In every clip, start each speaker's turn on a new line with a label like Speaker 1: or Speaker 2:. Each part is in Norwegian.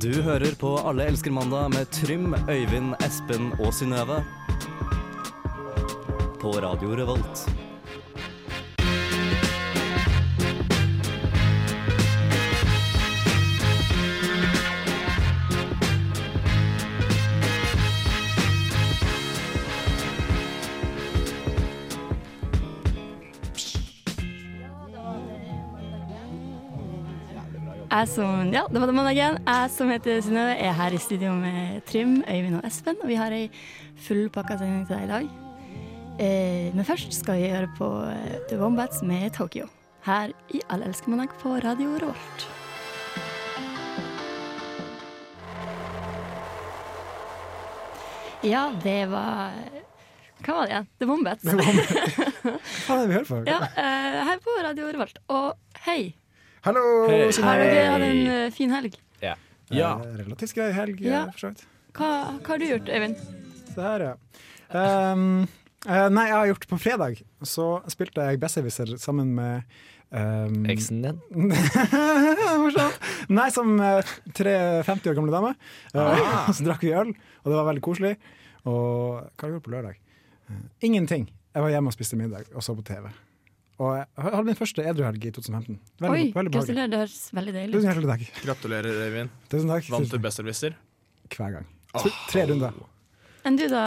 Speaker 1: Du hører på Alle elsker mandag med Trym, Øyvind, Espen og Synnøve. På Radio Revolt.
Speaker 2: Jeg som, ja, det var det mandagen. Jeg som heter Synnøve, er her i studio med Trym, Øyvind og Espen. Og vi har ei fullpakka sending til deg i dag. Eh, men først skal vi høre på eh, The Wombats med Tokyo. Her i Alle elsker mandag på Radio Revolt. Ja, det var Hva var det igjen? The Wombats.
Speaker 3: Hva faen er det vi hører på?
Speaker 2: ja, eh, her på Radio Revolt. Og hei,
Speaker 3: Hallo!
Speaker 4: Hei.
Speaker 3: Signe.
Speaker 2: har dere hatt en eh, fin helg?
Speaker 4: Ja.
Speaker 3: Eh, Relativt grei helg, eh,
Speaker 2: Ja.
Speaker 3: for så vidt.
Speaker 2: Hva, hva har du gjort, Øyvind?
Speaker 3: Så her, ja. Ehm, eh, nei, jeg har gjort på fredag, så spilte jeg Besserwisser sammen med ehm,
Speaker 4: Eksen din?
Speaker 3: Morsomt! Nei, som eh, tre 50 år gamle dame. Eh, Så drakk vi øl, og det var veldig koselig. Og hva gjorde jeg på lørdag? Eh, Ingenting. Jeg var hjemme og spiste middag og så på TV. Og jeg hadde min første edruhelg i 2015. Veldig,
Speaker 2: Oi,
Speaker 3: veldig behagelig.
Speaker 2: gratulerer. Det høres veldig deilig ut.
Speaker 3: Tusen hjertelig takk.
Speaker 5: Gratulerer, Øyvind.
Speaker 3: Tusen takk.
Speaker 5: Vant du Besserwisser?
Speaker 3: Hver gang. Tre- Tre runder.
Speaker 2: Enn du da,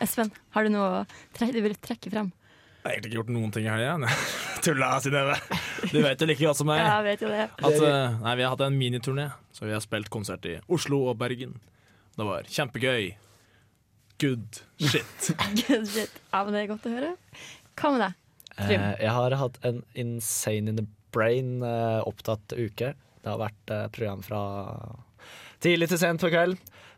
Speaker 2: Espen? Har du noe å tre du vil trekke frem?
Speaker 5: Jeg har egentlig ikke gjort noen ting i helga. Tulla, Synnøve. Du vet jo like godt som meg
Speaker 2: Ja, jeg vet jo det.
Speaker 5: at eh, nei, vi har hatt en miniturné. Så vi har spilt konsert i Oslo og Bergen. Det var kjempegøy. Good shit.
Speaker 2: Good shit. Ja, men det er godt å høre. Hva med deg? Trym.
Speaker 4: Eh, jeg har hatt en insane in the brain eh, opptatt uke. Det har vært eh, program fra tidlig til sent på kveld.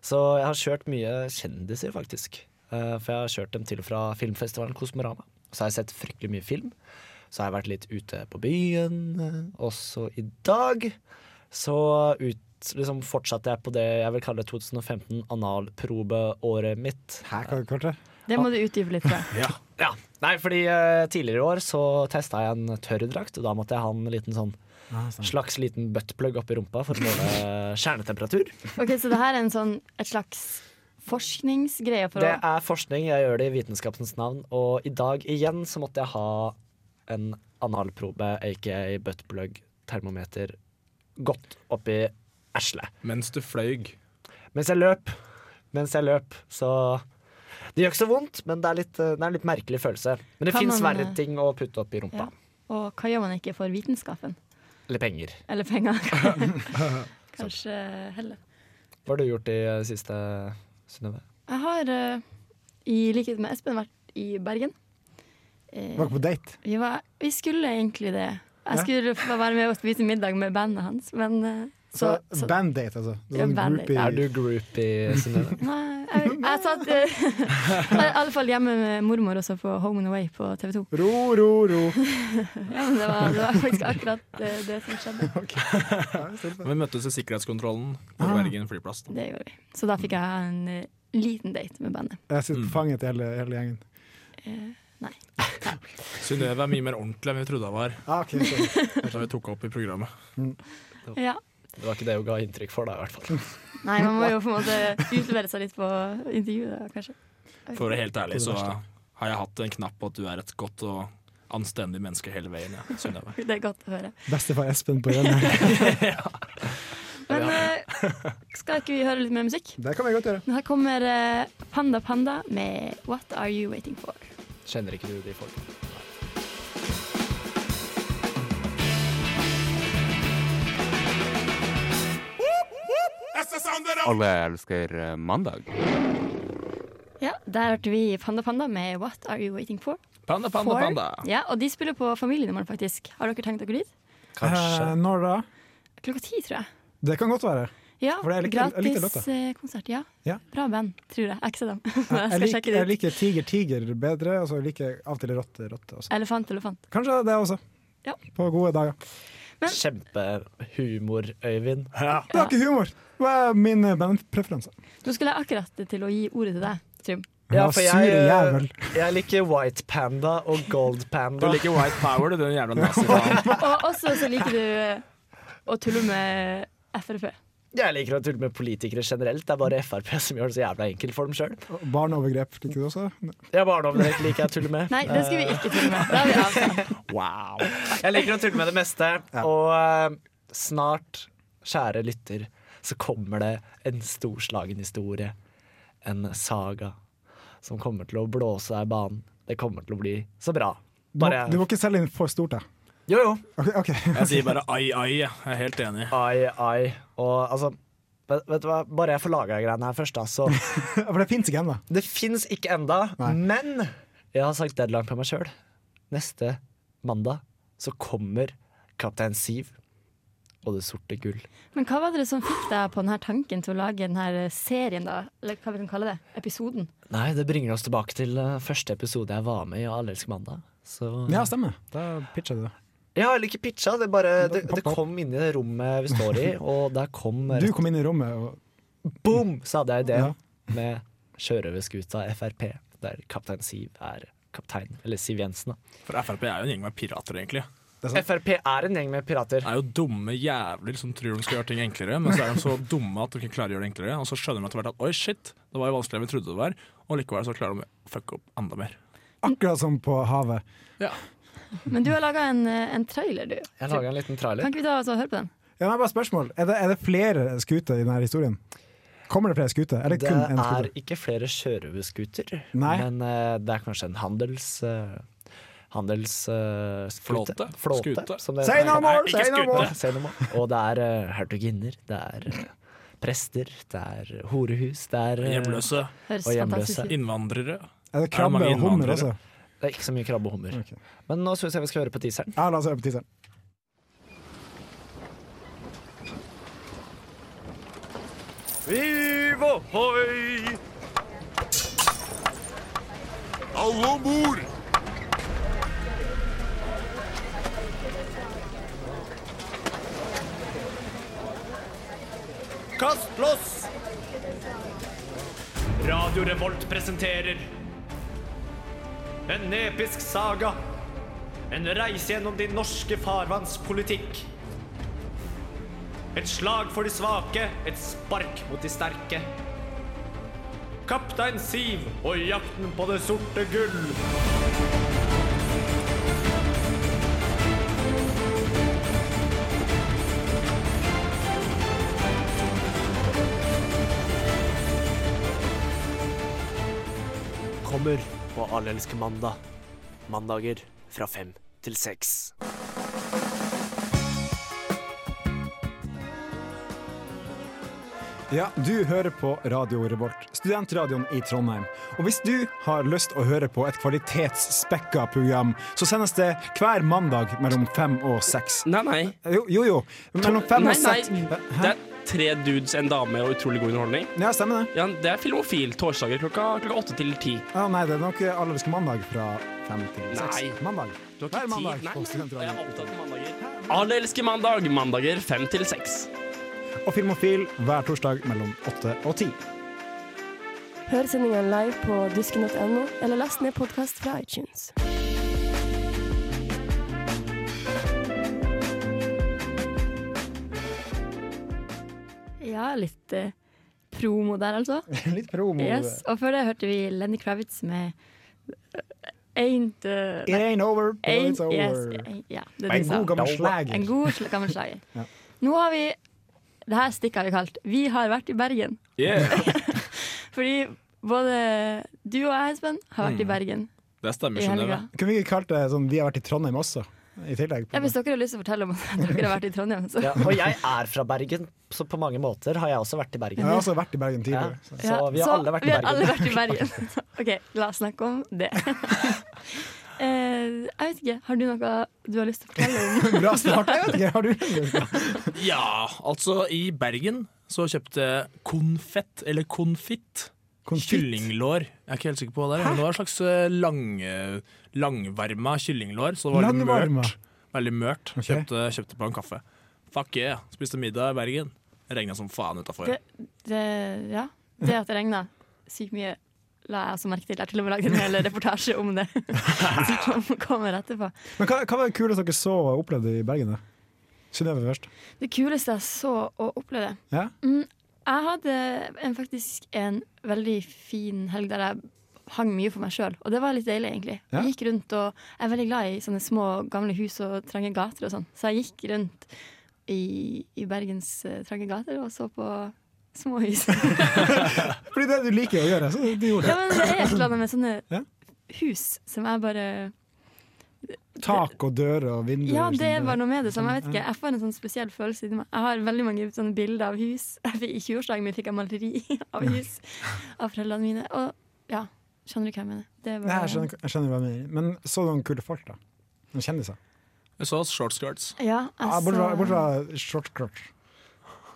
Speaker 4: Så jeg har kjørt mye kjendiser, faktisk. Eh, for jeg har kjørt dem til og fra filmfestivalen Kosmorama. Så har jeg sett fryktelig mye film. Så har jeg vært litt ute på byen. eh, Også i dag så ut, liksom fortsatte jeg på det jeg vil kalle 2015 analprobeåret mitt.
Speaker 3: Hæ, hva hva var det?
Speaker 2: Det må du utdype litt, tror jeg.
Speaker 4: Ja, nei, fordi eh, tidligere i år så testa jeg en tørrdrakt, og da måtte jeg ha en liten sånn
Speaker 2: Ah,
Speaker 4: slags liten buttplug oppi rumpa for å måle kjernetemperatur.
Speaker 2: Ok, Så det her er en sånn, et slags forskningsgreie for
Speaker 4: Det
Speaker 2: å
Speaker 4: er forskning, jeg gjør det i vitenskapens navn, og i dag igjen så måtte jeg ha en analprobe, aka buttplug, termometer, godt oppi æslet.
Speaker 5: Mens du fløy.
Speaker 4: Mens jeg løp. Mens jeg løp, så Det gjør ikke så vondt, men det er, litt, eh, det er en litt merkelig følelse. Men det
Speaker 2: Kan
Speaker 4: fins
Speaker 2: man,
Speaker 4: verre
Speaker 2: eh,
Speaker 4: ting å putte oppi rumpa.
Speaker 2: ja. Og hva gjør man ikke for vitenskapen?
Speaker 4: Eller penger.
Speaker 2: Eller penger? Kanskje heller.
Speaker 4: Hva har du gjort i eh, siste, Synnøve?
Speaker 2: Jeg har, eh, i likhet med Espen, vært i Bergen. Eh,
Speaker 3: Var ikke på date?
Speaker 2: Vi, var, vi skulle egentlig det. Jeg
Speaker 3: Ja.
Speaker 2: skulle få være med og spise middag med bandet hans, men eh,
Speaker 3: Så,
Speaker 2: så, så
Speaker 3: band-date, altså. Det
Speaker 2: Ja,
Speaker 3: var en
Speaker 2: band-date.
Speaker 3: groupie-
Speaker 4: Er du groupie, Synnøve?
Speaker 2: Nei, jeg, jeg satt eh, jeg var i alle fall hjemme med mormor også på Home and Away på TV 2.
Speaker 3: Ro, ro, ro.
Speaker 2: Ja, men det, var, det var faktisk akkurat eh, det som skjedde.
Speaker 5: Vi møttes i sikkerhetskontrollen på
Speaker 3: Ah.
Speaker 5: Bergen flyplass. Da.
Speaker 2: Det gjorde vi. Så da fikk jeg en eh, liten date med bandet. Eh,
Speaker 3: Jeg sitter
Speaker 5: Mm.
Speaker 3: fanget i hele, hele gjengen.
Speaker 5: Synnøve er mye mer ordentlig enn vi trodde hun var
Speaker 3: Ah, ok, så.
Speaker 5: da vi tok henne opp i programmet.
Speaker 2: Ja.
Speaker 4: Det var ikke det hun ga inntrykk for, da, i hvert fall.
Speaker 2: Nei, man må jo på en måte utlevere seg litt på intervjuet, da, kanskje.
Speaker 5: For å være helt ærlig så
Speaker 3: På det verste.
Speaker 5: har jeg hatt en knapp på at du er et godt og anstendig menneske hele veien. Ja, Synnøve.
Speaker 2: Det er godt å høre.
Speaker 3: Bestefar Espen på hjørnet.
Speaker 2: Men eh, skal ikke vi høre litt mer musikk?
Speaker 3: Det kan vi godt gjøre.
Speaker 2: Her kommer eh, Panda Panda med What Are You Waiting For.
Speaker 4: Kjenner ikke du de folkene?
Speaker 6: Alle elsker eh, mandag.
Speaker 2: Ja, Der hørte vi Panda Panda med What Are You Waiting For.
Speaker 5: Panda, panda,
Speaker 2: For.
Speaker 5: panda.
Speaker 2: Ja, Og de spiller på Familien i morgen, faktisk. Har dere tenkt dere dit?
Speaker 3: Eh, når da?
Speaker 2: Klokka ti, tror jeg.
Speaker 3: Det kan godt være.
Speaker 2: Ja,
Speaker 3: For jeg likte- jeg likte
Speaker 2: Gratis eh, konsert. Ja.
Speaker 3: Ja.
Speaker 2: Bra band, tror jeg. Jeg har ikke sett dem. Men jeg
Speaker 3: Jeg,
Speaker 2: skal
Speaker 3: lik,
Speaker 2: sjekke
Speaker 3: jeg
Speaker 2: det ut.
Speaker 3: liker Tiger Tiger bedre, og så liker jeg av og til Rotte Rotte også.
Speaker 2: Elefant, elefant.
Speaker 3: Kanskje det også.
Speaker 2: Ja.
Speaker 3: På gode dager.
Speaker 4: Kjempehumor, Øyvind.
Speaker 3: Det var ikke humor! Det var min eh, bandpreferanse.
Speaker 2: Nå skulle jeg akkurat til å gi ordet til deg, Trym.
Speaker 3: Ja,
Speaker 4: for
Speaker 3: sure
Speaker 4: eh,
Speaker 3: jævel.
Speaker 4: jeg liker White Panda og Gold
Speaker 5: Du
Speaker 4: Panda.
Speaker 5: liker White Power, du, den jævla nazifaen.
Speaker 2: Og også så liker du eh, å tulle med FrP.
Speaker 4: Jeg liker å tulle med politikere generelt. Det er bare Frp som gjør det så jævla enkelt for dem sjøl.
Speaker 3: Barneovergrep liker du også?
Speaker 4: Jeg bare noe dere liker jeg å tulle med.
Speaker 2: Nei, det skal vi ikke tulle med. Da har vi avtalt.
Speaker 4: Wow. Jeg liker å tulle med det meste, og eh, snart, kjære lytter, så kommer det en storslagen historie. En saga som kommer til å blåse deg i banen. Det kommer til å bli så bra.
Speaker 3: Du må,
Speaker 4: Bare
Speaker 3: du må ikke selge inn for stort, da.
Speaker 4: Jo, jo.
Speaker 3: Ok, ok.
Speaker 5: Jeg sier bare ai, ai. Jeg Jeg er helt enig.
Speaker 4: Ai, ai. Og altså Vet, vet du hva, bare jeg får laga greiene her først, da, så
Speaker 3: For det fins ikke ennå.
Speaker 4: Det fins ikke enda,
Speaker 3: Nei.
Speaker 4: men jeg har sagt deadline på meg sjøl. Neste mandag så kommer Kaptein Siv og Det sorte gull.
Speaker 2: Men hva var det som fikk deg på denne tanken til å lage denne serien, da? Eller hva vi kan kalle det? Episoden?
Speaker 4: Nei, det bringer oss tilbake til eh, første episode jeg var med i av Allelsk mandag. Så
Speaker 3: Ja, stemmer. Da pitcher du det.
Speaker 4: Jeg har ikke pitcha, det bare det, det
Speaker 3: Pop, pop.
Speaker 4: kom inn i det rommet vi står i, og der kom
Speaker 3: Du kom inn i rommet og
Speaker 4: Boom! Så hadde jeg ideen
Speaker 3: Ja.
Speaker 4: med sjørøverskuta Frp, der Kaptein Siv er kaptein. Eller Siv Jensen, da.
Speaker 5: For Frp er jo en gjeng med pirater, egentlig.
Speaker 4: Frp er en gjeng med pirater.
Speaker 5: Det er jo dumme jævler som tror de skal gjøre ting enklere, men så er de så dumme at de ikke klarer å gjøre det enklere. Og så skjønner de etter hvert at oi, shit, det var jo vanskeligere enn vi trodde det var. Og likevel så klarer de å fucke opp enda mer.
Speaker 3: Akkurat som på havet.
Speaker 2: Men du har laga en, eh, en trailer, du.
Speaker 4: Jeg laga en liten
Speaker 2: Kan
Speaker 4: trailer.
Speaker 2: ikke vi ta oss og høre på den?
Speaker 3: Ja, nei, bare spørsmål. Er det, er det flere skuter i denne historien? Kommer det flere skuter? Eller
Speaker 4: Det
Speaker 3: kun én
Speaker 4: er
Speaker 3: skute?
Speaker 4: ikke flere sjørøverskuter,
Speaker 3: Nei.
Speaker 4: men eh, det er kanskje en handels... eh, Uh, Handelsflåte.
Speaker 5: Flåte? Skute?
Speaker 3: Say no more! Say no more!
Speaker 4: Say no more. Og det er eh, hertuginner, det er eh, prester, det er horehus, det er eh,
Speaker 5: Hjemløse,
Speaker 2: Høres
Speaker 4: Og hjemløse.
Speaker 2: fantastisk ut.
Speaker 5: innvandrere.
Speaker 3: Er det
Speaker 5: Er det
Speaker 3: krabbe
Speaker 5: mange
Speaker 3: og altså. hummer
Speaker 5: innvandrere?
Speaker 3: også?
Speaker 4: Det er ikke så mye krabbe og hummer.
Speaker 3: Ok.
Speaker 4: Men nå syns jeg vi skal høre på teaseren.
Speaker 3: Ja, la oss høre på teaseren.
Speaker 7: Alle om bord! Kast loss!
Speaker 8: Radio Revolt presenterer En episk saga En reise gjennom de norske farvanns politikk Et slag for de svake Et spark mot de sterke Kaptein Siv og jakten på det sorte gull
Speaker 9: kommer på Allelske mandag. Mandager fra fem til seks.
Speaker 3: Ja, du hører på Radio Revolt, studentradioen i Trondheim. Og hvis du har lyst å høre på et kvalitetsspekka program, så sendes det hver mandag mellom fem og seks.
Speaker 10: Nei, nei.
Speaker 3: Jo, jo. jo. Mellom fem
Speaker 10: Nei,
Speaker 3: og
Speaker 10: nei.
Speaker 3: seks.
Speaker 10: Det er tre dudes, en dame og utrolig god underholdning.
Speaker 3: Ja, stemmer det.
Speaker 10: Ja, det er Filmofil. Torsdager klokka, klokka åtte til ti.
Speaker 3: Ja, nei, det er nok Allerske mandag fra fem til seks.
Speaker 10: Nei.
Speaker 3: Mandag.
Speaker 10: Du har ikke
Speaker 3: Hver
Speaker 10: tid.
Speaker 3: mandag
Speaker 10: Nei, nei, nei, jeg
Speaker 3: på
Speaker 10: er
Speaker 3: studentradioen.
Speaker 10: opptatt av mandager. Alle elsker mandag. Mandager fem til seks.
Speaker 3: Og Filmofil hver torsdag mellom åtte og ti.
Speaker 11: Hør sendingen live på dusken.no, eller last ned podkast fra iTunes.
Speaker 2: Ja, litt eh, promo der, altså.
Speaker 3: Litt promo.
Speaker 2: Yes. Og før det hørte vi Lenny Kravitz med eh, Ain't eh,
Speaker 3: It ain't over, till
Speaker 2: Ain't
Speaker 3: it's over.
Speaker 2: Yes. eh, Ja, det er det
Speaker 3: En
Speaker 2: de sa.
Speaker 3: god gammel slager.
Speaker 2: En god sl- gammel slager.
Speaker 3: Ja.
Speaker 2: Nå har vi Det her stikket har vi kalt 'Vi har vært i Bergen'.
Speaker 5: Yeah.
Speaker 2: Fordi både du og jeg, Espen, har vært i
Speaker 4: Mm.
Speaker 2: Bergen
Speaker 5: Det stemmer,
Speaker 2: i
Speaker 5: skjønner
Speaker 2: helga.
Speaker 5: jeg.
Speaker 3: Kunne vi ikke kalt det sånn 'Vi har vært i Trondheim også'? I tillegg.
Speaker 2: Ja, hvis dere har lyst til å fortelle om at dere har vært i Trondheim, så
Speaker 4: Ja, og jeg er fra Bergen, så på mange måter har jeg også vært i
Speaker 3: Jeg
Speaker 4: Bergen.
Speaker 3: har også vært i Bergen
Speaker 4: Ja,
Speaker 3: tidligere.
Speaker 4: så
Speaker 2: Ja,
Speaker 4: vi har alle vært i
Speaker 2: vi har alle
Speaker 4: Bergen.
Speaker 2: vært i Bergen. OK, la oss snakke om det. Eh, jeg vet ikke, har du noe du har lyst til å fortelle om?
Speaker 3: Bra start. Jeg vet ikke, har du
Speaker 5: Ja, altså i Bergen så kjøpte jeg konfett, eller konfitt,
Speaker 3: Konfitt.
Speaker 5: kyllinglår. Jeg er ikke helt sikker på hva det er, men det var en slags eh, lang, langvarma kyllinglår. Så det var veldig
Speaker 3: Langvarma.
Speaker 5: mørt. Veldig mørt.
Speaker 3: Ok.
Speaker 5: Kjøpte, kjøpte på en kaffe. Fuck yeah. Spiste middag i Bergen. Regna som faen utafor.
Speaker 2: Det- Det, ja, det at det regna sykt mye, la jeg også merke til. Jeg har til og med lagd en hel reportasje om det. Som kommer etterpå.
Speaker 3: Men hva, hva var det kuleste dere så og opplevde i Bergen? da? Synnøve først.
Speaker 2: Det kuleste jeg så og opplevde.
Speaker 3: Ja?
Speaker 2: Mm, jeg hadde en, faktisk en veldig fin helg der jeg hang mye for meg sjøl, og det var litt deilig, egentlig.
Speaker 12: Ja.
Speaker 2: Jeg gikk rundt og Jeg er veldig glad i sånne små, gamle hus og trange gater og sånn, så jeg gikk rundt i, i Bergens eh, trange gater og så på små hus.
Speaker 3: Fordi det er det du liker å gjøre, så du gjorde
Speaker 2: ja, men det er et eller annet med sånne
Speaker 3: Ja.
Speaker 2: hus som jeg bare
Speaker 3: Tak og dører og vinduer.
Speaker 2: Ja,
Speaker 3: og
Speaker 2: det
Speaker 3: sånn.
Speaker 2: var noe med det samme. Jeg vet ikke, jeg får en sånn spesiell følelse inni meg. Jeg har veldig mange sånne bilder av hus. Jeg fikk- I 20-årsdagen min fikk jeg maleri av hus av foreldrene mine. Og ja, skjønner du hva jeg mener? Det var-
Speaker 3: Nei, jeg, skjønner, jeg skjønner hva du mener. Men så du noen kule folk, da? Noen kjendiser?
Speaker 5: Jeg så shortskirts.
Speaker 2: Ja, jeg
Speaker 3: Ah, bort fra,
Speaker 2: så-
Speaker 3: bort fra Mm. shortcrotch.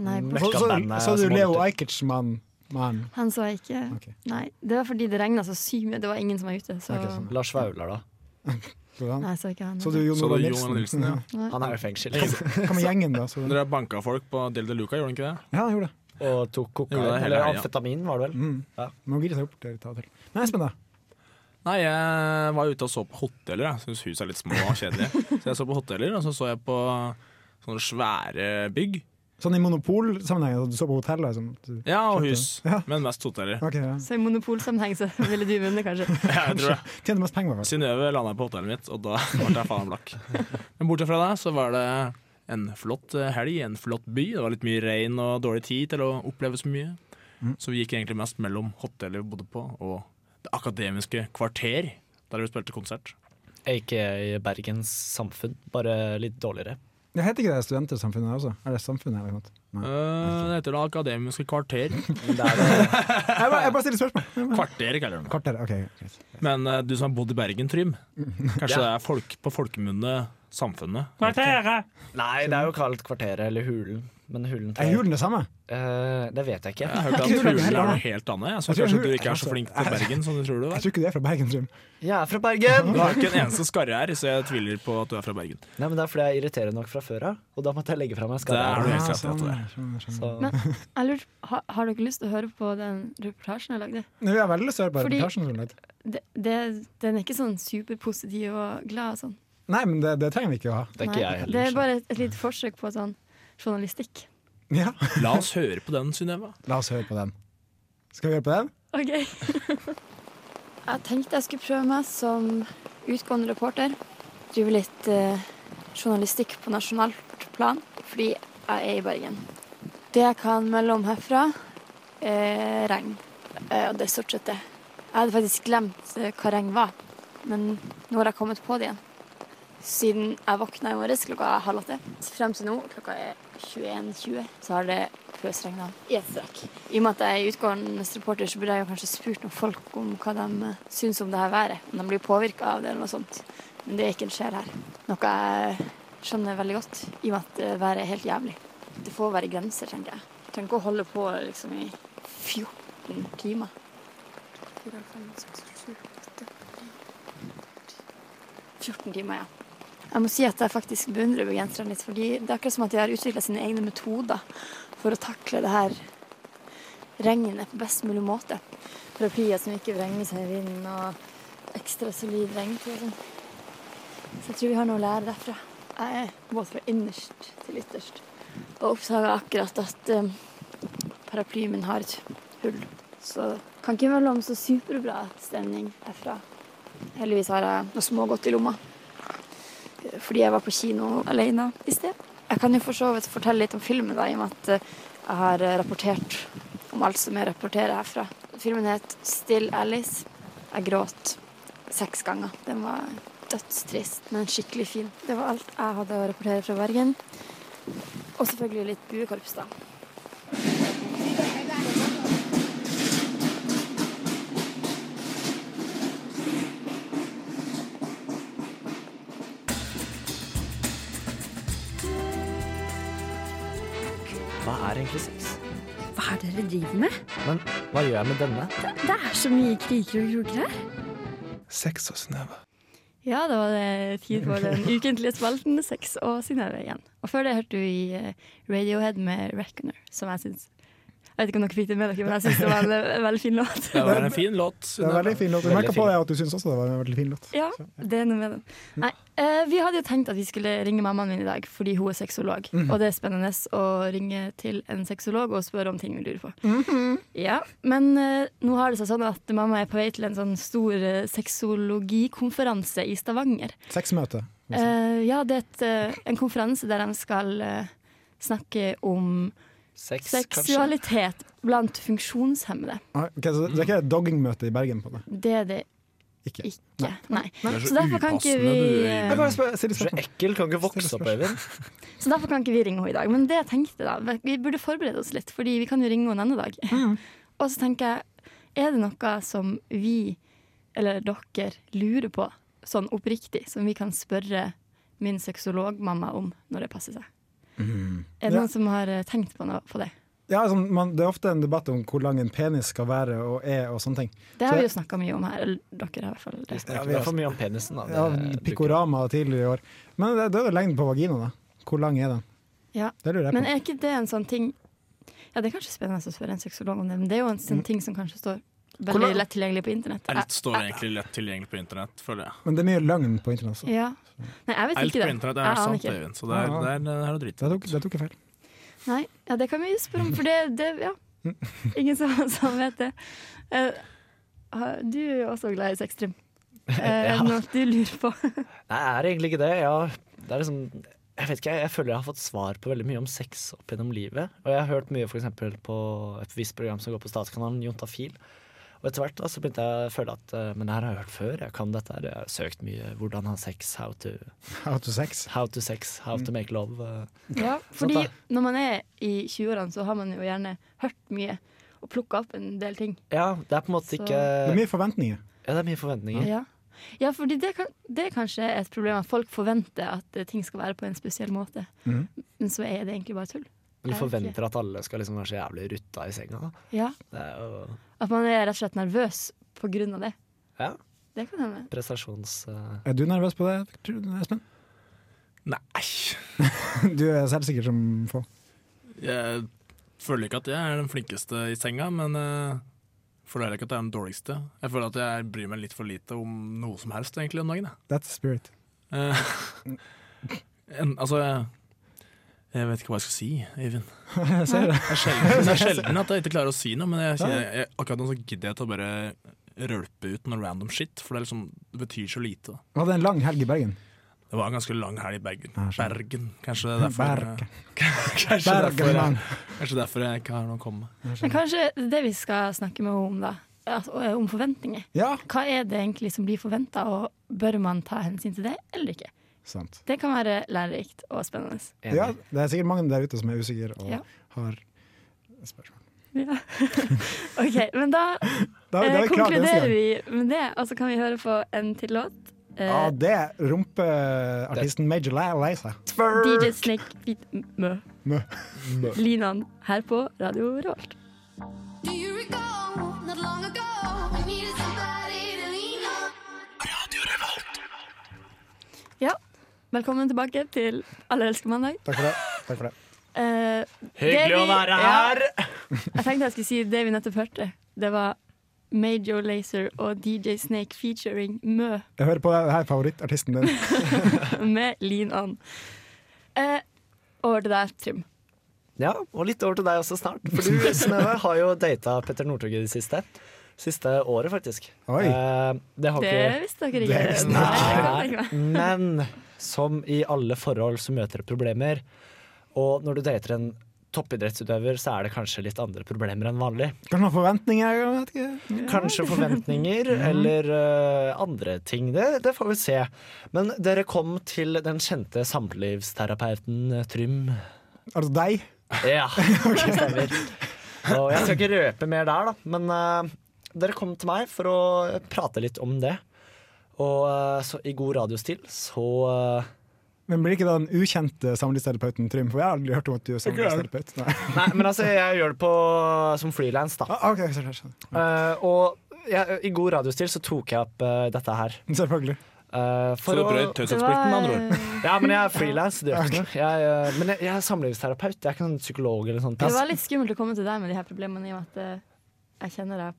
Speaker 2: Nei,
Speaker 3: Så,
Speaker 2: bort-
Speaker 3: så, så du Leo Ajkic-mann? mann.
Speaker 2: Han så jeg ikke. Nei, det var fordi det regna så sykt mye. Det var ingen som var ute. Så.
Speaker 4: Ok, sånn. Lars Vaular, da?
Speaker 2: Nei, jeg så ikke han.
Speaker 3: Så du Jon
Speaker 5: Så du
Speaker 3: Olav
Speaker 5: Jon
Speaker 3: Nilsen?
Speaker 5: Olav Nilsen, ja.
Speaker 2: Nei.
Speaker 4: Han er jo i fengsel.
Speaker 3: Hva med gjengen, da? Så,
Speaker 5: Dere banka folk på Del de Luca, gjorde dere ikke det?
Speaker 3: ja, jeg gjorde det. Mm.
Speaker 4: Og tok kokain,
Speaker 5: Jo, det er hele Mm.
Speaker 4: eller
Speaker 5: helga.
Speaker 4: amfetamin, var det vel? Ja.
Speaker 3: Må gire seg opp der, ta og til. Nei, Espen, da?
Speaker 5: Nei, jeg var ute og så på hoteller. Jeg syns hus er litt små og kjedelige. Så jeg så på hoteller, og så så jeg på sånne svære bygg.
Speaker 3: Sånn i monopolsammenheng, at du så på hotellet? Liksom. Du-
Speaker 5: Ja, og hus, men mest hoteller.
Speaker 3: Ok, ja.
Speaker 2: Så i monopolsammenheng så ville du vunnet, kanskje.
Speaker 5: Ja, jeg tror det.
Speaker 3: Tjente mest penger, i hvert fall.
Speaker 5: Synnøve landa på hotellet mitt, og da ble jeg faen blakk. Men bortsett fra det, så var det en flott eh, helg, en flott by. Det var litt mye regn og dårlig tid til å oppleve så mye. Så vi gikk egentlig mest mellom hotellet vi bodde på, og Det akademiske kvarter, der vi spilte konsert.
Speaker 4: Ikke i Bergens samfunn, bare litt dårligere.
Speaker 3: Det heter ikke det studentersamfunnet også? Er det samfunnet eller noe? sånt? Nei.
Speaker 5: Eh, det heter Det akademiske kvarter.
Speaker 9: eh,
Speaker 3: Jeg bare, jeg bare stiller spørsmål.
Speaker 5: Kvarter, kaller de det.
Speaker 3: Kvarter, ok. greit.
Speaker 5: Men eh, du som har bodd i Bergen, Trym. Kanskje det
Speaker 4: Ja.
Speaker 5: er folk på folkemunne Samfunnet?
Speaker 4: Nei, det er jo kalt Kvarteret eller Hulen. Men hulen
Speaker 3: Er hulen det samme?
Speaker 4: Eh, det vet jeg ikke.
Speaker 5: Jeg har hørt at
Speaker 3: Jeg tror det er
Speaker 5: Hulen er
Speaker 3: heller-
Speaker 5: noe helt annet. Jeg
Speaker 3: Jeg
Speaker 5: syns
Speaker 3: tror
Speaker 5: kanskje
Speaker 3: Hul-
Speaker 5: du ikke er så flink til Bergen som du tror du
Speaker 3: Jeg
Speaker 5: er.
Speaker 3: tror ikke du er fra Bergen, Trym.
Speaker 4: Jeg er fra Bergen!
Speaker 5: Du har ikke en eneste skarre her, så jeg tviler på at du er fra Bergen.
Speaker 4: Nei, men Det er fordi jeg irriterer nok fra før av, og da måtte jeg legge fra meg
Speaker 5: Det er du helt
Speaker 4: skallen.
Speaker 3: sånn,
Speaker 5: rett i at du er.
Speaker 2: Men jeg lurte, har, har dere lyst til å høre på den reportasjen jeg lagde?
Speaker 3: Nå er jeg veldig lyst til å høre på
Speaker 2: Fordi-
Speaker 3: reportasjen. som du lagde.
Speaker 2: Det, det, den er ikke sånn superpositiv og glad og sånn.
Speaker 3: Nei, men det, det trenger vi ikke å ha.
Speaker 2: Nei, Det er bare et, et lite forsøk på sånn journalistikk.
Speaker 3: Ja.
Speaker 5: La oss høre på den, Synnøve.
Speaker 3: La oss høre på den. Skal vi høre på den?
Speaker 2: OK. jeg tenkte jeg skulle prøve meg som utgående reporter. Drive litt eh, journalistikk på nasjonalt plan, fordi jeg er i Bergen. Det jeg kan melde om herfra, er regn. Eh, og det er stort sett det. Jeg hadde faktisk glemt eh, hva regn var, men nå har jeg kommet på det igjen. Siden jeg våkna i morges klokka er halv åtte, frem til nå klokka er 21.20, så har det pøsregna i ett strekk. I og med at jeg er utgående reporter, så burde jeg jo kanskje spurt noen folk om hva de eh, syns om det her været. Om de blir påvirka av det eller noe sånt. Men det er ikke en sjel her. Noe jeg skjønner veldig godt, i og med at eh, været er helt jævlig. Det får være grenser, tenker jeg. Jeg trenger ikke å holde på liksom i 14 timer. Fire, fem, seks, sju, åtte, ni, ti. 14 timer, ja. Jeg må si at jeg faktisk beundrer bergenserne litt, fordi det er akkurat som at de har utvikla sine egne metoder for å takle det her regnet på best mulig måte. Paraplyer som ikke vrenger seg i vinden, og ekstra solid regntøy og sånn. Så jeg tror vi har noe å lære derfra. Jeg er båt fra innerst til ytterst, og oppdaga akkurat at eh, paraplyen min har et hull. Så kan ikke melde om så superbra stemning herfra. Heldigvis har jeg noe smågodt i lomma fordi jeg var på kino alene i sted. Jeg kan jo for så vidt fortelle litt om filmen, da, i og med at eh, jeg har eh, rapportert om alt som jeg rapporterer herfra. Filmen het 'Still Alice'. Jeg gråt seks ganger. Den var dødstrist, men skikkelig fin. Det var alt jeg hadde å rapportere fra Bergen. Og selvfølgelig litt buekorps, da.
Speaker 4: Hva er egentlig sex?
Speaker 13: Hva er det dere driver med?
Speaker 4: Men hva gjør jeg med denne?
Speaker 13: Det, det er så mye kriker og kroker her.
Speaker 4: Sex og Synnøve.
Speaker 2: Ja, da var det tid for den ukentlige spalten Sex og Synnøve igjen. Og før det hørte vi eh, Radiohead med 'Reckoner', som jeg syns Jeg vet ikke om dere fikk det med dere, men jeg syns det var en eh, veldig fin låt.
Speaker 5: Det var en fin låt.
Speaker 3: Det er en veldig fin låt. Jeg merka på deg at du syns også det var en veldig fin låt.
Speaker 2: Ja, det er noe med den. Nei, eh, vi hadde jo tenkt at vi skulle ringe mammaen min i dag, fordi hun er sexolog.
Speaker 11: Mhm.
Speaker 2: Og det er spennende å ringe til en sexolog og spørre om ting vi lurer på. Mhm. Ja, Men eh, nå har det seg sånn at mamma er på vei til en sånn stor eh, sexologikonferanse i Stavanger.
Speaker 3: Sexmøte.
Speaker 2: Eh, ja, det er et, eh, en konferanse der de skal eh, snakke om
Speaker 4: Sex,
Speaker 2: seksualitet blant funksjonshemmede.
Speaker 3: Ah, ok, så det det er ikke et doggingmøte i Bergen på det?
Speaker 2: Det er det
Speaker 3: Ikke.
Speaker 2: Nei.
Speaker 3: Nei.
Speaker 2: Så derfor kan ikke vi eh,
Speaker 4: Du er så
Speaker 3: sånn-
Speaker 4: ekkel, kan ikke vokse opp, Øyvind.
Speaker 2: Så derfor kan ikke vi ringe henne i dag. Men det jeg tenkte da, vi burde forberede oss litt, fordi vi kan jo ringe henne en annen dag.
Speaker 3: Mm.
Speaker 2: Og så tenker jeg, er det noe som vi, eller dere, lurer på sånn oppriktig, som vi kan spørre min sexologmamma om når det passer seg? Er det
Speaker 3: Ja.
Speaker 2: noen som har eh, tenkt på noe på det?
Speaker 3: Ja, altså, man, det er ofte en debatt om hvor lang en penis skal være og er og sånne ting.
Speaker 2: Det har
Speaker 3: Så-
Speaker 2: vi jo snakka mye om her. Eller dere har i hvert fall det.
Speaker 3: Ja,
Speaker 4: Det er for mye om penisen, da.
Speaker 3: Ja, Pikorama tidligere i år. Men det, det er jo lengden på vaginaen, da. Hvor lang er den?
Speaker 2: Ja.
Speaker 3: Det lurer jeg
Speaker 2: Men
Speaker 3: på.
Speaker 2: er ikke det en sånn ting Ja, det er kanskje spennende å spørre en sexolog om det, men det er jo en sånn ting som kanskje står veldig
Speaker 5: lang-
Speaker 2: lett tilgjengelig på internett.
Speaker 5: Alt står egentlig lett tilgjengelig på internett, føler jeg.
Speaker 3: Men det er mye løgn på internett. så.
Speaker 2: Ja. Nei, jeg vet
Speaker 5: Alt
Speaker 2: ikke det. Ah,
Speaker 5: på internett
Speaker 2: Jeg
Speaker 5: er
Speaker 2: aner
Speaker 5: sant,
Speaker 2: ikke.
Speaker 5: Øyvind, så det
Speaker 3: Ah.
Speaker 5: er, det er, det er å drite
Speaker 3: Det tok, det tok jeg feil.
Speaker 2: Nei, ja, det kan vi spørre om, for det, det ja. Ingen som, som vet det. Eh, har- du er jo også glad i sextrim. Uh, Er
Speaker 4: Ja.
Speaker 2: det noe du lurer på?
Speaker 4: Nei, jeg er egentlig ikke det. Jeg, har- det er liksom, jeg vet ikke, jeg, jeg føler jeg har fått svar på veldig mye om sex opp gjennom livet. Og jeg har hørt mye for eksempel på et visst program som går på statskanalen, Jontafil. Og etter hvert da, så begynte jeg å føle at eh, men det her har jeg hørt før, jeg kan dette her. Jeg har søkt mye hvordan ha sex, how to,
Speaker 3: How to sex.
Speaker 4: how to sex, how to make love. eh.
Speaker 2: Ja,
Speaker 4: Sånt
Speaker 2: fordi
Speaker 4: da.
Speaker 2: når man er i 20-årene, så har man jo gjerne hørt mye og plukka opp en del ting.
Speaker 4: Ja, det er på en måte
Speaker 2: Så-
Speaker 4: ikke
Speaker 3: Det er mye forventninger.
Speaker 4: Ja, det er mye forventninger.
Speaker 2: Ja, ja fordi det, kan, det er kanskje et problem at folk forventer at eh, ting skal være på en spesiell måte,
Speaker 4: Mhm.
Speaker 2: men så er det egentlig bare tull.
Speaker 4: Du
Speaker 2: Jeg vet ikke.
Speaker 4: forventer at alle skal liksom være så jævlig rutta i senga. Da.
Speaker 2: Ja,
Speaker 4: Det er jo
Speaker 2: At man er rett og slett nervøs på grunn av det.
Speaker 4: ja,
Speaker 2: Det kan hende.
Speaker 4: prestasjons... eh,
Speaker 3: Er du nervøs på det, tror du, Espen?
Speaker 5: Nei.
Speaker 3: Du er selvsikker som få.
Speaker 5: Jeg føler ikke at jeg er den flinkeste i senga, men jeg føler heller ikke at jeg er den dårligste. Jeg føler at jeg bryr meg litt for lite om noe som helst egentlig om dagen. jeg.
Speaker 3: That's the spirit.
Speaker 5: Eh, en, altså jeg, jeg vet ikke hva jeg skal si, Eivind.
Speaker 3: Jeg ser det.
Speaker 5: er sjelden, det er sjelden at jeg ikke klarer å si noe, men jeg, kjenner- jeg, akkurat nå så gidder jeg til å bare rølpe ut noe random shit, for det, er liksom, det betyr så lite.
Speaker 3: Du hadde en lang helg i Bergen.
Speaker 5: Det var en ganske lang helg i Bergen. Bergen, kanskje det er derfor
Speaker 3: Bergen.
Speaker 5: Kanskje
Speaker 3: Bergen,
Speaker 5: derfor, jeg,
Speaker 3: man.
Speaker 5: kanskje derfor jeg ikke har noe å komme med.
Speaker 2: Men kanskje det er det vi skal snakke med henne om, da. Altså, eh, om forventninger.
Speaker 3: Ja.
Speaker 2: Hva er det egentlig som blir forventa, og bør man ta hensyn til det eller ikke?
Speaker 3: Sant.
Speaker 2: Det kan være lærerikt og spennende.
Speaker 3: Ja, det er sikkert mange der ute som er usikre og
Speaker 2: Ja.
Speaker 3: har
Speaker 2: Ja. OK, men da,
Speaker 3: Da- da er vi
Speaker 2: eh,
Speaker 3: klar til neste
Speaker 2: konkluderer
Speaker 3: gang.
Speaker 2: vi med det, og så kan vi høre på en til låt. Eh,
Speaker 3: Ja, det er rumpeartisten Major Lay Laysa.
Speaker 2: DJ Snake Beat Mø.
Speaker 3: Mø.
Speaker 2: Linan her på Radio Revolt.
Speaker 12: Do you recall not long ago we needed somebody to lean on?
Speaker 2: Ja, velkommen tilbake til Alle elsker mandag.
Speaker 3: Takk for det. Takk for det.
Speaker 2: Eh,
Speaker 4: Hyggelig
Speaker 2: det
Speaker 4: å
Speaker 2: vi-
Speaker 4: være
Speaker 2: ja.
Speaker 4: her.
Speaker 2: jeg tenkte jeg skulle si det vi nettopp hørte. Det var Major Lazer og DJ Snake featuring Mø
Speaker 3: Jeg hører på deg, her favorittartisten din.
Speaker 2: med Lean On. Eh, over til deg, Trym.
Speaker 4: Ja, og litt over til deg også snart. For du, Synnøve, har jo data Petter Northug i det siste. Siste året, faktisk.
Speaker 2: Oi.
Speaker 4: Eh, det har
Speaker 2: Det
Speaker 4: ikke
Speaker 2: visste dere ikke. Det visste dere Nei, ikke. det kan jeg ikke.
Speaker 4: Men som i alle forhold så møter det problemer. Og når du dater en toppidrettsutøver, så er det kanskje litt andre problemer enn vanlig.
Speaker 3: Kanskje noen forventninger? Jeg vet ikke.
Speaker 4: Kanskje forventninger eller eh, andre ting. Det, det får vi se. Men dere kom til den kjente samlivsterapeuten eh, Trym.
Speaker 3: Altså deg?
Speaker 4: Ja, det stemmer. Og jeg skal ikke røpe mer der, da. Men eh, dere kom til meg for å prate litt om det. Og eh, så i god radiostil så eh,
Speaker 3: Men blir ikke da den ukjente samlivsterapeuten Trym? For jeg har aldri hørt om at du er samlivsterapeut. Nei.
Speaker 4: Nei, men altså, jeg gjør det på, som frilans, da.
Speaker 3: Ah, ok, skjønner, skjønner.
Speaker 4: Eh, og jeg, i god radiostil så tok jeg opp eh, dette her.
Speaker 3: Selvfølgelig.
Speaker 4: Eh, for
Speaker 5: Så du
Speaker 4: å-
Speaker 5: brøt taushetsplikten, med andre ord?
Speaker 2: eh,
Speaker 5: Det var-
Speaker 4: Ja, men jeg er frilans. Det gjør ikke noe. Jeg, eh, Men jeg, jeg er samlivsterapeut. Jeg er ikke noen sånn psykolog eller sånt.
Speaker 2: Det var litt skummelt å komme til deg med de her problemene, i og med at eh, jeg kjenner deg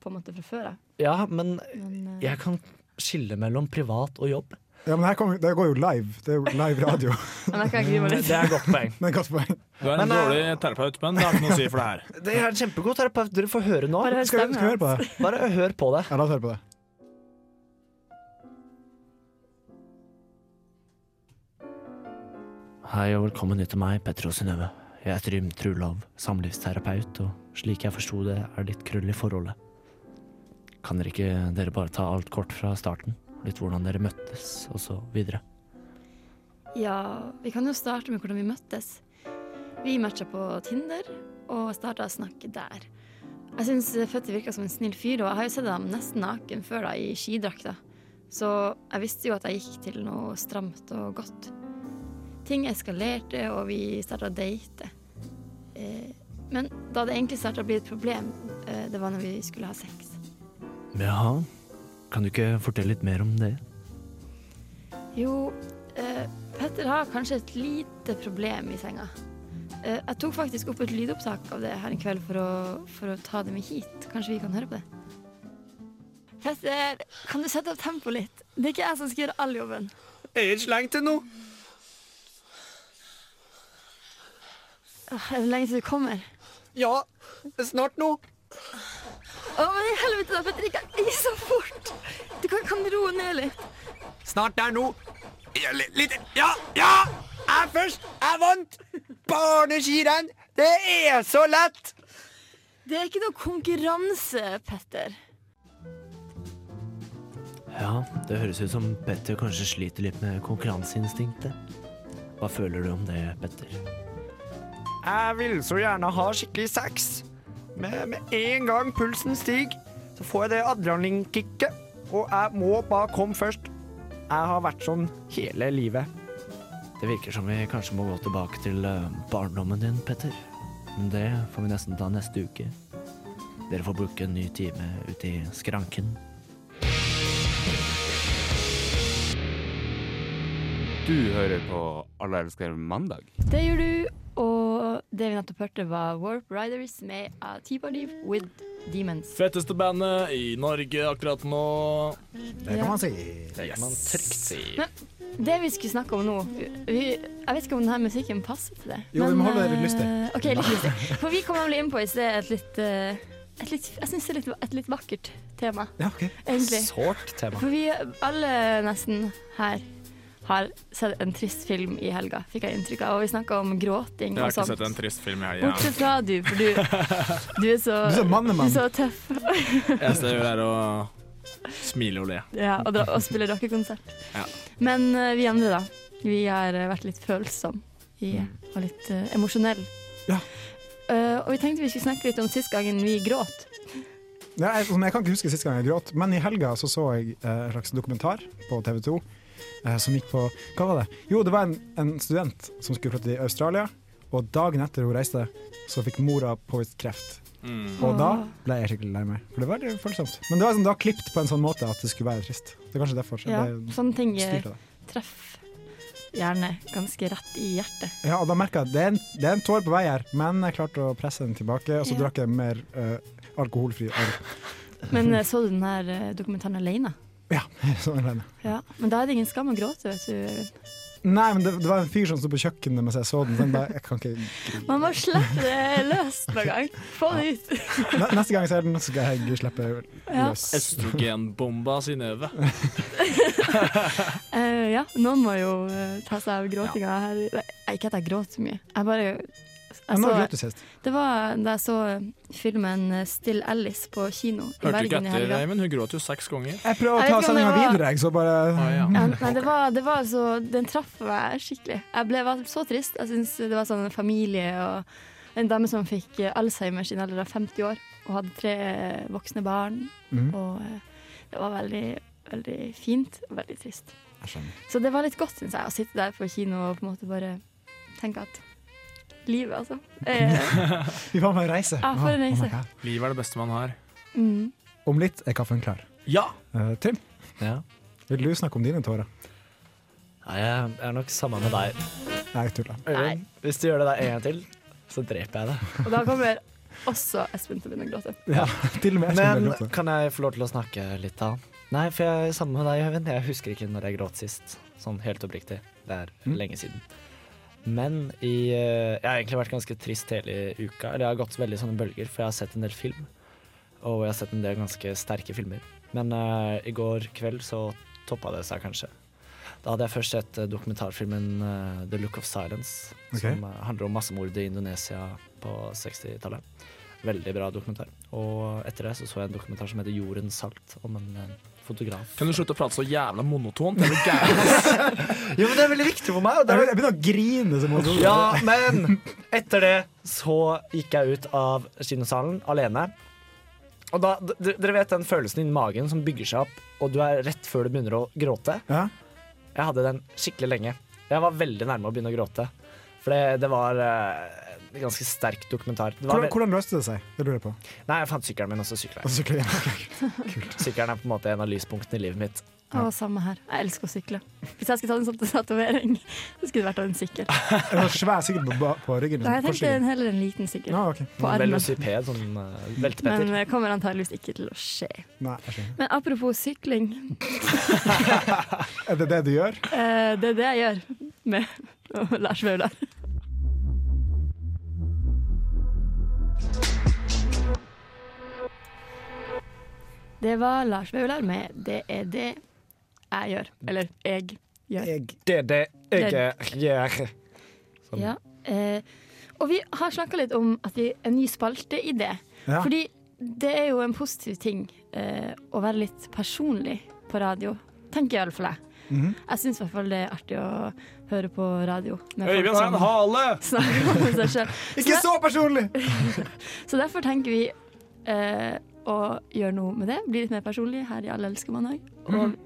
Speaker 2: på en måte fra før. jeg.
Speaker 4: Ja, men
Speaker 2: Men, eh,
Speaker 4: jeg kan skille mellom privat og jobb.
Speaker 3: Ja, men her kom, det går jo live. Det er jo live radio.
Speaker 2: Men jeg kan ikke
Speaker 4: Det er et godt poeng.
Speaker 3: Det er et godt poeng.
Speaker 5: Du er en
Speaker 4: Men, eh,
Speaker 5: dårlig terapeut, men det har ikke noe å si for det her.
Speaker 4: Det er en kjempegod terapeut. Dere får høre nå.
Speaker 2: Bare hør
Speaker 4: Skal vi-
Speaker 2: stemmen
Speaker 4: skal vi høre på
Speaker 2: hans.
Speaker 4: det? Bare hør på det.
Speaker 3: Ja, la oss høre på det.
Speaker 4: Hei og velkommen ut til meg, Petter og Synnøve. Jeg er Trym Trulov, samlivsterapeut, og slik jeg forsto det, er litt krøll i forholdet. Kan dere ikke dere bare ta alt kort fra starten? Litt hvordan dere møttes, og så videre.
Speaker 2: Ja, vi kan jo starte med hvordan vi møttes. Vi matcha på Tinder og starta å snakke der. Jeg syns Føtti virka som en snill fyr, og jeg har jo sett ham nesten naken før da, i skidrakta. Så jeg visste jo at jeg gikk til noe stramt og godt. Ting eskalerte, og vi starta å date. Eh, Men da det egentlig starta å bli et problem, eh, det var når vi skulle ha sex.
Speaker 4: Jaha, kan du ikke fortelle litt mer om det?
Speaker 2: Jo, eh, Petter har kanskje et lite problem i senga. Eh, jeg tok faktisk opp et lydopptak av det her en kveld for å, for å ta det med hit. Kanskje vi kan høre på det? Petter, kan du sette opp tempoet litt? Det er ikke jeg som skal gjøre all jobben.
Speaker 7: Er det ikke lenge til nå?
Speaker 2: Åh, er det lenge til du kommer?
Speaker 7: Ja, snart nå.
Speaker 2: Å, men i helvete da, Petter, ikke, ikke så fort! Du kan, kan du roe ned litt?
Speaker 7: Snart der nå. Ja, li- litt Ja, ja! Jeg først. Jeg vant. Barneskirenn. Det er så lett.
Speaker 2: Det er ikke noe konkurranse, Petter.
Speaker 4: Ja, det høres ut som Petter kanskje sliter litt med konkurranseinstinktet. Hva føler du om det, Petter?
Speaker 9: Jeg vil så gjerne ha skikkelig sex. Men med en gang pulsen stiger, så får jeg det adrenalinkicket. Og jeg må bare komme først.
Speaker 4: Jeg har vært sånn hele livet. Det virker som vi kanskje må gå tilbake til eh, barndommen din, Petter. Men det får vi nesten ta neste uke. Dere får booke en ny time ute i skranken.
Speaker 6: Du hører på Alle elsker mandag.
Speaker 2: Det gjør du, og det vi nettopp hørte var Warp Riders med A T-Body with Demons.
Speaker 5: Fetteste bandet i Norge akkurat nå.
Speaker 2: Det kan man si.
Speaker 5: Det kan man trygt si.
Speaker 2: Men det vi skulle snakke om nå vi, Jeg vet ikke om denne musikken passer til det.
Speaker 3: Jo, vi må holde det litt
Speaker 2: eh,
Speaker 3: lystig.
Speaker 2: Ok, litt lystig. For vi kom nemlig inn på i sted et litt, eh, et litt Jeg syns det er litt, et litt vakkert tema. Egentlig.
Speaker 4: Sårt tema.
Speaker 2: For vi alle nesten her har sett en trist film i helga, fikk jeg inntrykk av. Og vi snakka om gråting
Speaker 5: Jeg har
Speaker 2: og
Speaker 5: ikke
Speaker 2: sånt.
Speaker 5: sett en trist film i
Speaker 2: Bortsett
Speaker 5: helga.
Speaker 2: fra du, for du, du er så
Speaker 5: Du er så mannemann.
Speaker 2: Du er så tøff.
Speaker 5: Eneste jeg gjør, er å smile og le.
Speaker 2: Ja, og, dra, og spille rockekonsert.
Speaker 5: Ja.
Speaker 2: Men eh, vi andre, da. Vi har eh, vært litt følsomme
Speaker 5: Mm.
Speaker 2: og litt uh, emosjonelle. Eh, og vi tenkte vi skulle snakke litt om sist gangen vi gråt.
Speaker 3: Ja, jeg, sånn, jeg kan ikke huske sist gang jeg gråt, men i helga så, så jeg eh, en slags dokumentar på TV 2 eh, som gikk på Hva var det? Jo, det var en, en student som skulle flytte til Australia, og dagen etter hun reiste, så fikk mora påvist kreft.
Speaker 5: Mm.
Speaker 3: Og da ble jeg skikkelig lei meg, for det var veldig følsomt. Men det var sånn, da klippet på en sånn måte at det skulle være trist. Det er kanskje derfor.
Speaker 2: Ja,
Speaker 3: jeg ble
Speaker 2: sånne ting eh,
Speaker 3: styrt av det.
Speaker 2: treffer gjerne ganske rett i hjertet.
Speaker 3: Ja, og da merka jeg at det er, en, det er en tår på vei her, men jeg klarte å presse den tilbake, og så
Speaker 2: Ja.
Speaker 3: drakk jeg mer eh, alkoholfri øl.
Speaker 2: Men eh, så du den her eh, dokumentaren alene?
Speaker 3: Sånn er det.
Speaker 2: Ja. Men da er det ingen skam å gråte, vet du. Øyvind.
Speaker 3: Nei, men det, det var en fyr som sto på kjøkkenet mens jeg så den. Så jeg bare, jeg kan ikke...
Speaker 2: Man må slippe det løs noen gang. Få det ut.
Speaker 3: Ne- Neste gang jeg ser den, så skal jeg slippe
Speaker 2: Ja.
Speaker 3: løs.
Speaker 5: Østrogenbomba Synnøve.
Speaker 2: Eh, ja, noen må jo eh, ta seg av gråtinga her. Nei, ikke at jeg gråter mye. Jeg bare jeg
Speaker 3: Men nå
Speaker 2: så-
Speaker 3: gråt du sist.
Speaker 2: Det var da jeg så filmen eh, 'Still Alice' på kino i
Speaker 5: Hørte du ikke
Speaker 2: Bergen i
Speaker 5: etter,
Speaker 2: helga.
Speaker 5: Eivind? Hun gråt jo seks ganger.
Speaker 3: Jeg prøver å
Speaker 2: Jeg vet ikke
Speaker 3: ta
Speaker 2: om det
Speaker 3: sendinga
Speaker 2: var-
Speaker 3: videre, jeg, så bare
Speaker 2: Ja, nei, det var, det var så, den traff meg skikkelig. Jeg ble var så trist. Jeg synes Det var sånn familie og en dame som fikk eh, Alzheimers i en alder av 50 år, og hadde tre eh, voksne barn.
Speaker 12: Mhm.
Speaker 2: Og eh, det var veldig, veldig fint og veldig trist.
Speaker 3: Jeg skjønner.
Speaker 2: Så det var litt godt, syns jeg, å sitte der på kino og på en måte bare tenke at Livet, altså. Eh,
Speaker 3: Vi var med å reise.
Speaker 2: Ja, for en
Speaker 3: my
Speaker 2: reise.
Speaker 3: God.
Speaker 5: Livet er det beste man har.
Speaker 2: mm.
Speaker 3: Om litt er kaffen klar.
Speaker 5: Ja!
Speaker 3: Eh, Trym, Vil du snakke om dine tårer?
Speaker 4: Nei, jeg er nok sammen med deg.
Speaker 3: Nei, jeg tuller.
Speaker 4: Øyvind, hvis du gjør det der en gang til, så dreper jeg deg.
Speaker 2: Og da kommer også Espen til å begynne å gråte.
Speaker 3: Ja, til og med Espen
Speaker 4: Men
Speaker 3: ble grått.
Speaker 4: kan jeg få lov til å snakke litt da? Nei, for jeg er sammen med deg, Øyvind. Jeg husker ikke når jeg gråt sist. Sånn helt oppriktig. Det er lenge siden. Men i eh, Jeg har egentlig vært ganske trist hele uka. Eller jeg har gått veldig i sånne bølger, for jeg har sett en del film. Og jeg har sett en del ganske sterke filmer. Men eh, i går kveld så toppa det seg kanskje. Da hadde jeg først sett eh, dokumentarfilmen eh, 'The Look of Silence',
Speaker 3: Ok.
Speaker 4: som eh, handler om massemord i Indonesia på 60-tallet. Veldig bra dokumentar. Og etter det så, så jeg en dokumentar som heter 'Jordens salt', om en eh, fotograf.
Speaker 5: Kan du slutte å prate så jævla monotont? Er du gæren?
Speaker 4: Jo, men det er veldig viktig for meg. og det er-
Speaker 3: Jeg begynner å grine. Som om-
Speaker 4: Ja, men etter det så gikk jeg ut av kinosalen alene. Og da, d- d- Dere vet den følelsen innen magen som bygger seg opp, og du er rett før du begynner å gråte? Jeg hadde den skikkelig lenge. Jeg var veldig nærme å begynne å gråte. For det, det var eh, en ganske sterk dokumentar. Det var
Speaker 3: Hvordan,
Speaker 4: ve-
Speaker 3: hvordan løste det seg? Det lurer jeg på.
Speaker 4: Nei, jeg fant sykkelen min, og så sykla
Speaker 3: Og så sykler
Speaker 4: jeg.
Speaker 3: jeg.
Speaker 4: Sykkelen er på en måte en av lyspunktene i livet mitt.
Speaker 2: Å, samme her. Jeg elsker å sykle. Hvis jeg skulle tatt en sånn tatovering, så skulle det vært av en sykkel.
Speaker 3: Det var svær sikkert på, ba- på ryggen.
Speaker 2: Nei, jeg
Speaker 3: på
Speaker 2: tenkte
Speaker 3: siden.
Speaker 2: heller en liten sykkel.
Speaker 3: Ah, ok.
Speaker 2: På armen.
Speaker 4: Velociped, sånn eh,
Speaker 2: Men
Speaker 4: veltepetter.
Speaker 2: det kommer antageligvis ikke til å skje.
Speaker 3: Nei, jeg skjønner.
Speaker 2: Men apropos sykling,
Speaker 3: Er det det du gjør?
Speaker 2: eh, det er det jeg gjør med Lars Vaular. Det var Lars Vaular med 'Det er det jeg gjør'. Eller 'jeg gjør'.
Speaker 4: Det er det jeg
Speaker 2: Det-
Speaker 4: gjør. Sånn.
Speaker 2: Ja. Eh, og vi har snakka litt om at vi en ny spalte i det.
Speaker 4: Ja.
Speaker 2: Fordi det er jo en positiv ting eh, å være litt personlig på radio. Tenker iallfall jeg. Jeg syns i hvert fall det er artig å høre på radio. med folk
Speaker 5: Øyvind har en
Speaker 2: som
Speaker 5: hale!
Speaker 2: snakker om seg selv.
Speaker 3: Ikke så personlig!
Speaker 2: Så derfor tenker vi eh, å gjøre noe med det. Bli litt mer personlig her i Alle elsker mandag. Og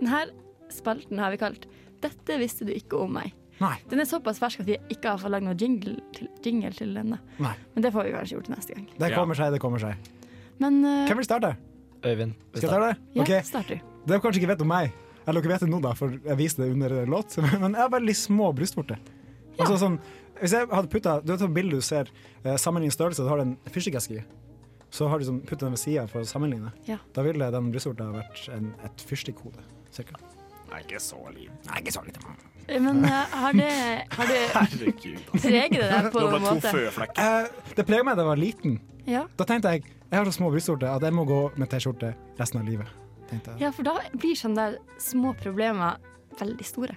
Speaker 2: denne spalten har vi kalt 'Dette visste du ikke om meg'.
Speaker 3: Nei.
Speaker 2: Den er såpass fersk at vi ikke har fått lagd noen jingle til, jingle til den. da.
Speaker 3: Nei.
Speaker 2: Men det får vi kanskje gjort neste gang.
Speaker 3: Det kommer seg, det kommer seg.
Speaker 2: Men eh,
Speaker 3: Hvem vil starte?
Speaker 4: Øyvind.
Speaker 3: Skal jeg starte?
Speaker 2: Ja,
Speaker 3: Ok.
Speaker 2: start du.
Speaker 3: Dere kanskje ikke vet om meg. Eller dere vet det nå, da, for jeg viste det under låt. Men jeg har veldig små brystvorter. Altså sånn, hvis jeg hadde puttet, Du vet sånn bilde du ser, eh, sammenlign størrelse, da har du en fyrstikkeske i. Så har du sånn, puttet den ved sida for å sammenligne.
Speaker 2: Ja.
Speaker 3: Da ville den brystvorta vært en, et fyrstikkhode. Cirka.
Speaker 7: Nei, ikke så liten. Nei, ikke så liten.
Speaker 2: Eh, Men eh, har det, har det preget det deg på noen måte?
Speaker 3: Eh, det preger meg da jeg var liten.
Speaker 2: Ja.
Speaker 3: Da tenkte jeg jeg har så små brystvorter at jeg må gå med T-skjorte resten av livet. Tenkte jeg.
Speaker 2: ja, for da blir sånne der små problemer veldig store.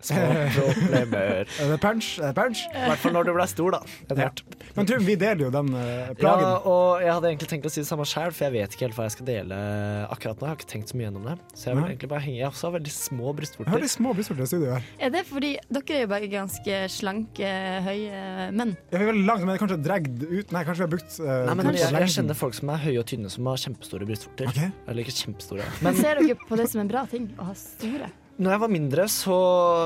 Speaker 4: Små problemer.
Speaker 3: Det er Eh, punch. det er punch.
Speaker 4: I hvert fall når du ble stor, da. Etter hvert.
Speaker 3: Men Trym, vi deler jo den eh, plagen.
Speaker 4: Ja, og jeg hadde egentlig tenkt å si det samme sjøl, for jeg vet ikke helt hva jeg skal dele akkurat nå. Jeg har ikke tenkt så mye gjennom det. Så jeg vil
Speaker 3: Nei.
Speaker 4: egentlig bare henge Jeg også har veldig små
Speaker 3: Jeg har
Speaker 4: brystvorter.
Speaker 3: de små brystvortene i studio her.
Speaker 2: Er det fordi dere er jo begge ganske slanke, høye menn?
Speaker 3: Ja, vi er veldig langt, men det er kanskje dragged ut Nei, kanskje vi har brukt uh,
Speaker 4: Nei, men jeg, jeg kjenner folk som er høye og tynne som har kjempestore brystvorter. Eller ikke kjempestore.
Speaker 2: Men
Speaker 4: Men
Speaker 2: ser dere på det som en bra ting å ha store?
Speaker 4: når jeg var mindre, så,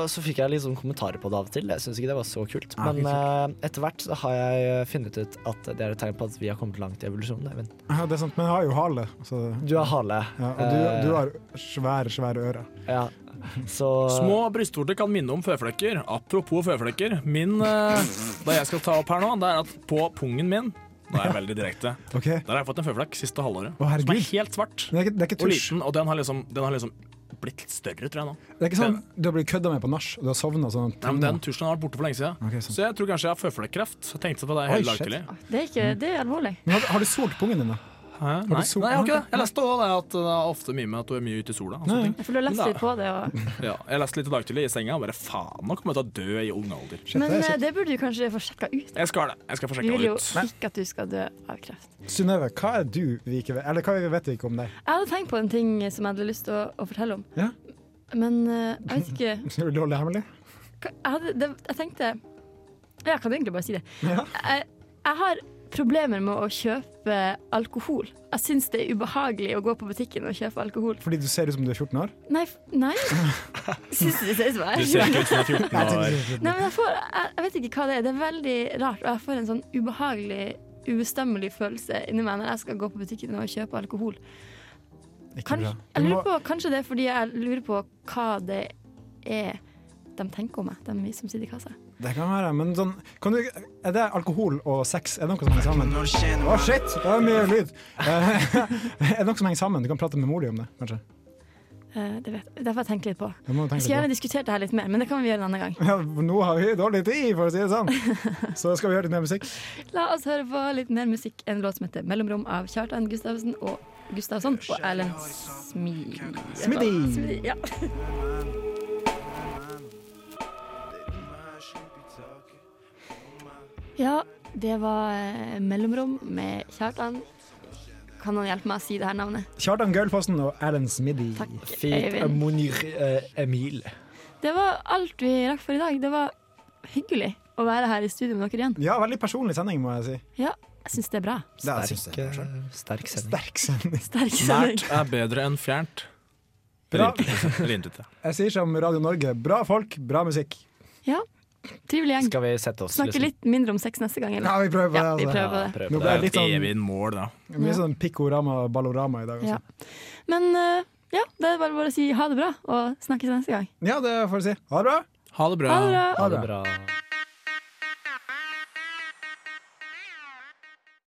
Speaker 4: så fikk jeg litt sånn kommentarer på det av og til. Jeg syns ikke det var så kult.
Speaker 3: Ah,
Speaker 2: Nei,
Speaker 4: Men eh, etter hvert så har jeg eh, funnet ut at det er et tegn på at vi har kommet langt i evolusjonen. Eivind.
Speaker 3: Ja, det er sant, men jeg har jo hale. Så.
Speaker 4: Du har hale.
Speaker 3: Ja, og du,
Speaker 4: Eh.
Speaker 3: du har svære, svære ører.
Speaker 4: Ja, så
Speaker 5: Små brystvorter kan minne om føflekker. Apropos føflekker. Min, eh, det jeg skal ta opp her nå, det er at på pungen min Da er jeg veldig direkte.
Speaker 3: Ok.
Speaker 5: Der har jeg fått en føflekk siste halvåret.
Speaker 3: Å, herregud.
Speaker 5: som er helt svart.
Speaker 3: Men Det er ikke, det er ikke
Speaker 5: og
Speaker 3: tusj.
Speaker 5: liten, og den har liksom, den har liksom blitt litt større, tror jeg nå.
Speaker 3: Det er ikke sånn du har blitt kødda med på nach og du har sovna sånn. at
Speaker 5: Nei, men Den
Speaker 3: tunga-
Speaker 5: tusjen har vært borte for lenge siden.
Speaker 3: Ok, sånn.
Speaker 5: så jeg tror kanskje jeg har føflekkreft. Jeg tenkte på det
Speaker 3: Oi,
Speaker 5: hele dag
Speaker 3: shit.
Speaker 5: tidlig.
Speaker 2: Det er, ikke, det er alvorlig.
Speaker 3: Men har, har du solt pungen din, da?
Speaker 5: Hæ?
Speaker 3: du
Speaker 5: Nei.
Speaker 3: sol-
Speaker 5: Nei, jeg har ikke det. Jeg leste også det at det er ofte mye med at du er mye ute i sola. og sånne ting.
Speaker 2: For du har lest
Speaker 5: Men
Speaker 2: litt på det. Og...
Speaker 5: Ja, jeg leste litt i dag tidlig i senga og bare faen, nå kommer jeg til å dø i ung alder.
Speaker 2: Men eh, det burde du kanskje få sjekka ut.
Speaker 5: Jeg skal det. Jeg skal få
Speaker 2: Vi
Speaker 5: sjekka
Speaker 2: vil
Speaker 5: det
Speaker 2: jo
Speaker 5: ut.
Speaker 2: ikke at du skal dø av kreft.
Speaker 3: Synnøve, hva er du vi ikke vet Eller hva vet vi ikke om deg?
Speaker 2: Jeg hadde tenkt på en ting som jeg hadde lyst til å, å fortelle om.
Speaker 3: Ja.
Speaker 2: Men eh, jeg vet ikke
Speaker 3: Vil du holde det hemmelig?
Speaker 2: hva- jeg, hadde, det, jeg tenkte Jeg kan egentlig bare si det.
Speaker 3: Ja.
Speaker 2: Jeg, jeg har problemer med å kjøpe alkohol. Jeg syns det er ubehagelig å gå på butikken og kjøpe alkohol.
Speaker 3: Fordi du ser ut som du er 14 år?
Speaker 2: Nei, f- nei. Syns du det ser ut som jeg er
Speaker 3: Du ser ikke ut som du er 14 år.
Speaker 2: Nei, men jeg, får, jeg, jeg vet ikke hva det er. Det er veldig rart, og jeg får en sånn ubehagelig, ubestemmelig følelse inni meg når jeg skal gå på butikken og kjøpe alkohol.
Speaker 3: Ikke
Speaker 2: Kanskje,
Speaker 3: bra.
Speaker 2: jeg
Speaker 3: Du
Speaker 2: lurer
Speaker 3: må-
Speaker 2: på, kanskje det er fordi jeg lurer på hva det er de tenker om meg, de vi som sitter i kassa.
Speaker 3: Det kan være, men sånn kan du, Er det alkohol og sex? Er det noe som henger sammen? Å, shit! Det var mye lyd. Eh, er det noe som henger sammen? Du kan prate med mor di om det, kanskje.
Speaker 2: Eh, Det, vet, det får jeg tenke litt på.
Speaker 3: Det må du
Speaker 2: Jeg
Speaker 3: tenke
Speaker 2: skulle gjerne
Speaker 3: litt på.
Speaker 2: diskutert det her litt mer, men det kan vi gjøre en annen gang.
Speaker 3: Ja, nå har vi dårlig tid, for å si det sånn. Så skal vi høre litt mer musikk.
Speaker 2: La oss høre på litt mer musikk. En låt som heter 'Mellomrom' av Kjartan Gustavsen og Gustavsson og Erlend Smi...
Speaker 3: Smiddy.
Speaker 2: Smiddy, Ja. ja, det var eh, 'Mellomrom' med Kjartan. Kan noen hjelpe meg å si det her navnet?
Speaker 3: Kjartan Gaulfossen og Erlend Smiddy.
Speaker 2: Eivind. eh,
Speaker 4: Monir Emil.
Speaker 2: Det var alt vi rakk for i dag. Det var hyggelig å være her i studio med dere igjen.
Speaker 3: Ja, veldig personlig sending, må jeg si.
Speaker 2: Ja, jeg syns det er bra.
Speaker 3: Det syns jeg selv. Sterk sending.
Speaker 2: Sterk
Speaker 5: Nært er bedre enn fjernt.
Speaker 3: Bra.
Speaker 5: Eller intet. Eller intet, ja.
Speaker 3: Jeg sier som Radio Norge, bra folk, bra musikk.
Speaker 2: Ja, trivelig gjeng.
Speaker 4: Skal vi sette oss
Speaker 2: Snakke litt mindre om sex neste gang, eller?
Speaker 3: Ja, vi prøver på det,
Speaker 2: Ja, vi
Speaker 3: altså.
Speaker 2: prøver på det.
Speaker 3: Nå ble jeg litt sånn-
Speaker 5: evig mål, da.
Speaker 3: Mye sånn pikkorama og ballorama i dag. altså. Også.
Speaker 2: Ja. Men eh, ja, det er bare bare å si ha det bra, og snakkes neste gang.
Speaker 3: Ja, det får vi si. Ha det bra.
Speaker 5: Ha det
Speaker 2: bra. Ha det bra.
Speaker 3: Ha det bra.
Speaker 4: bra.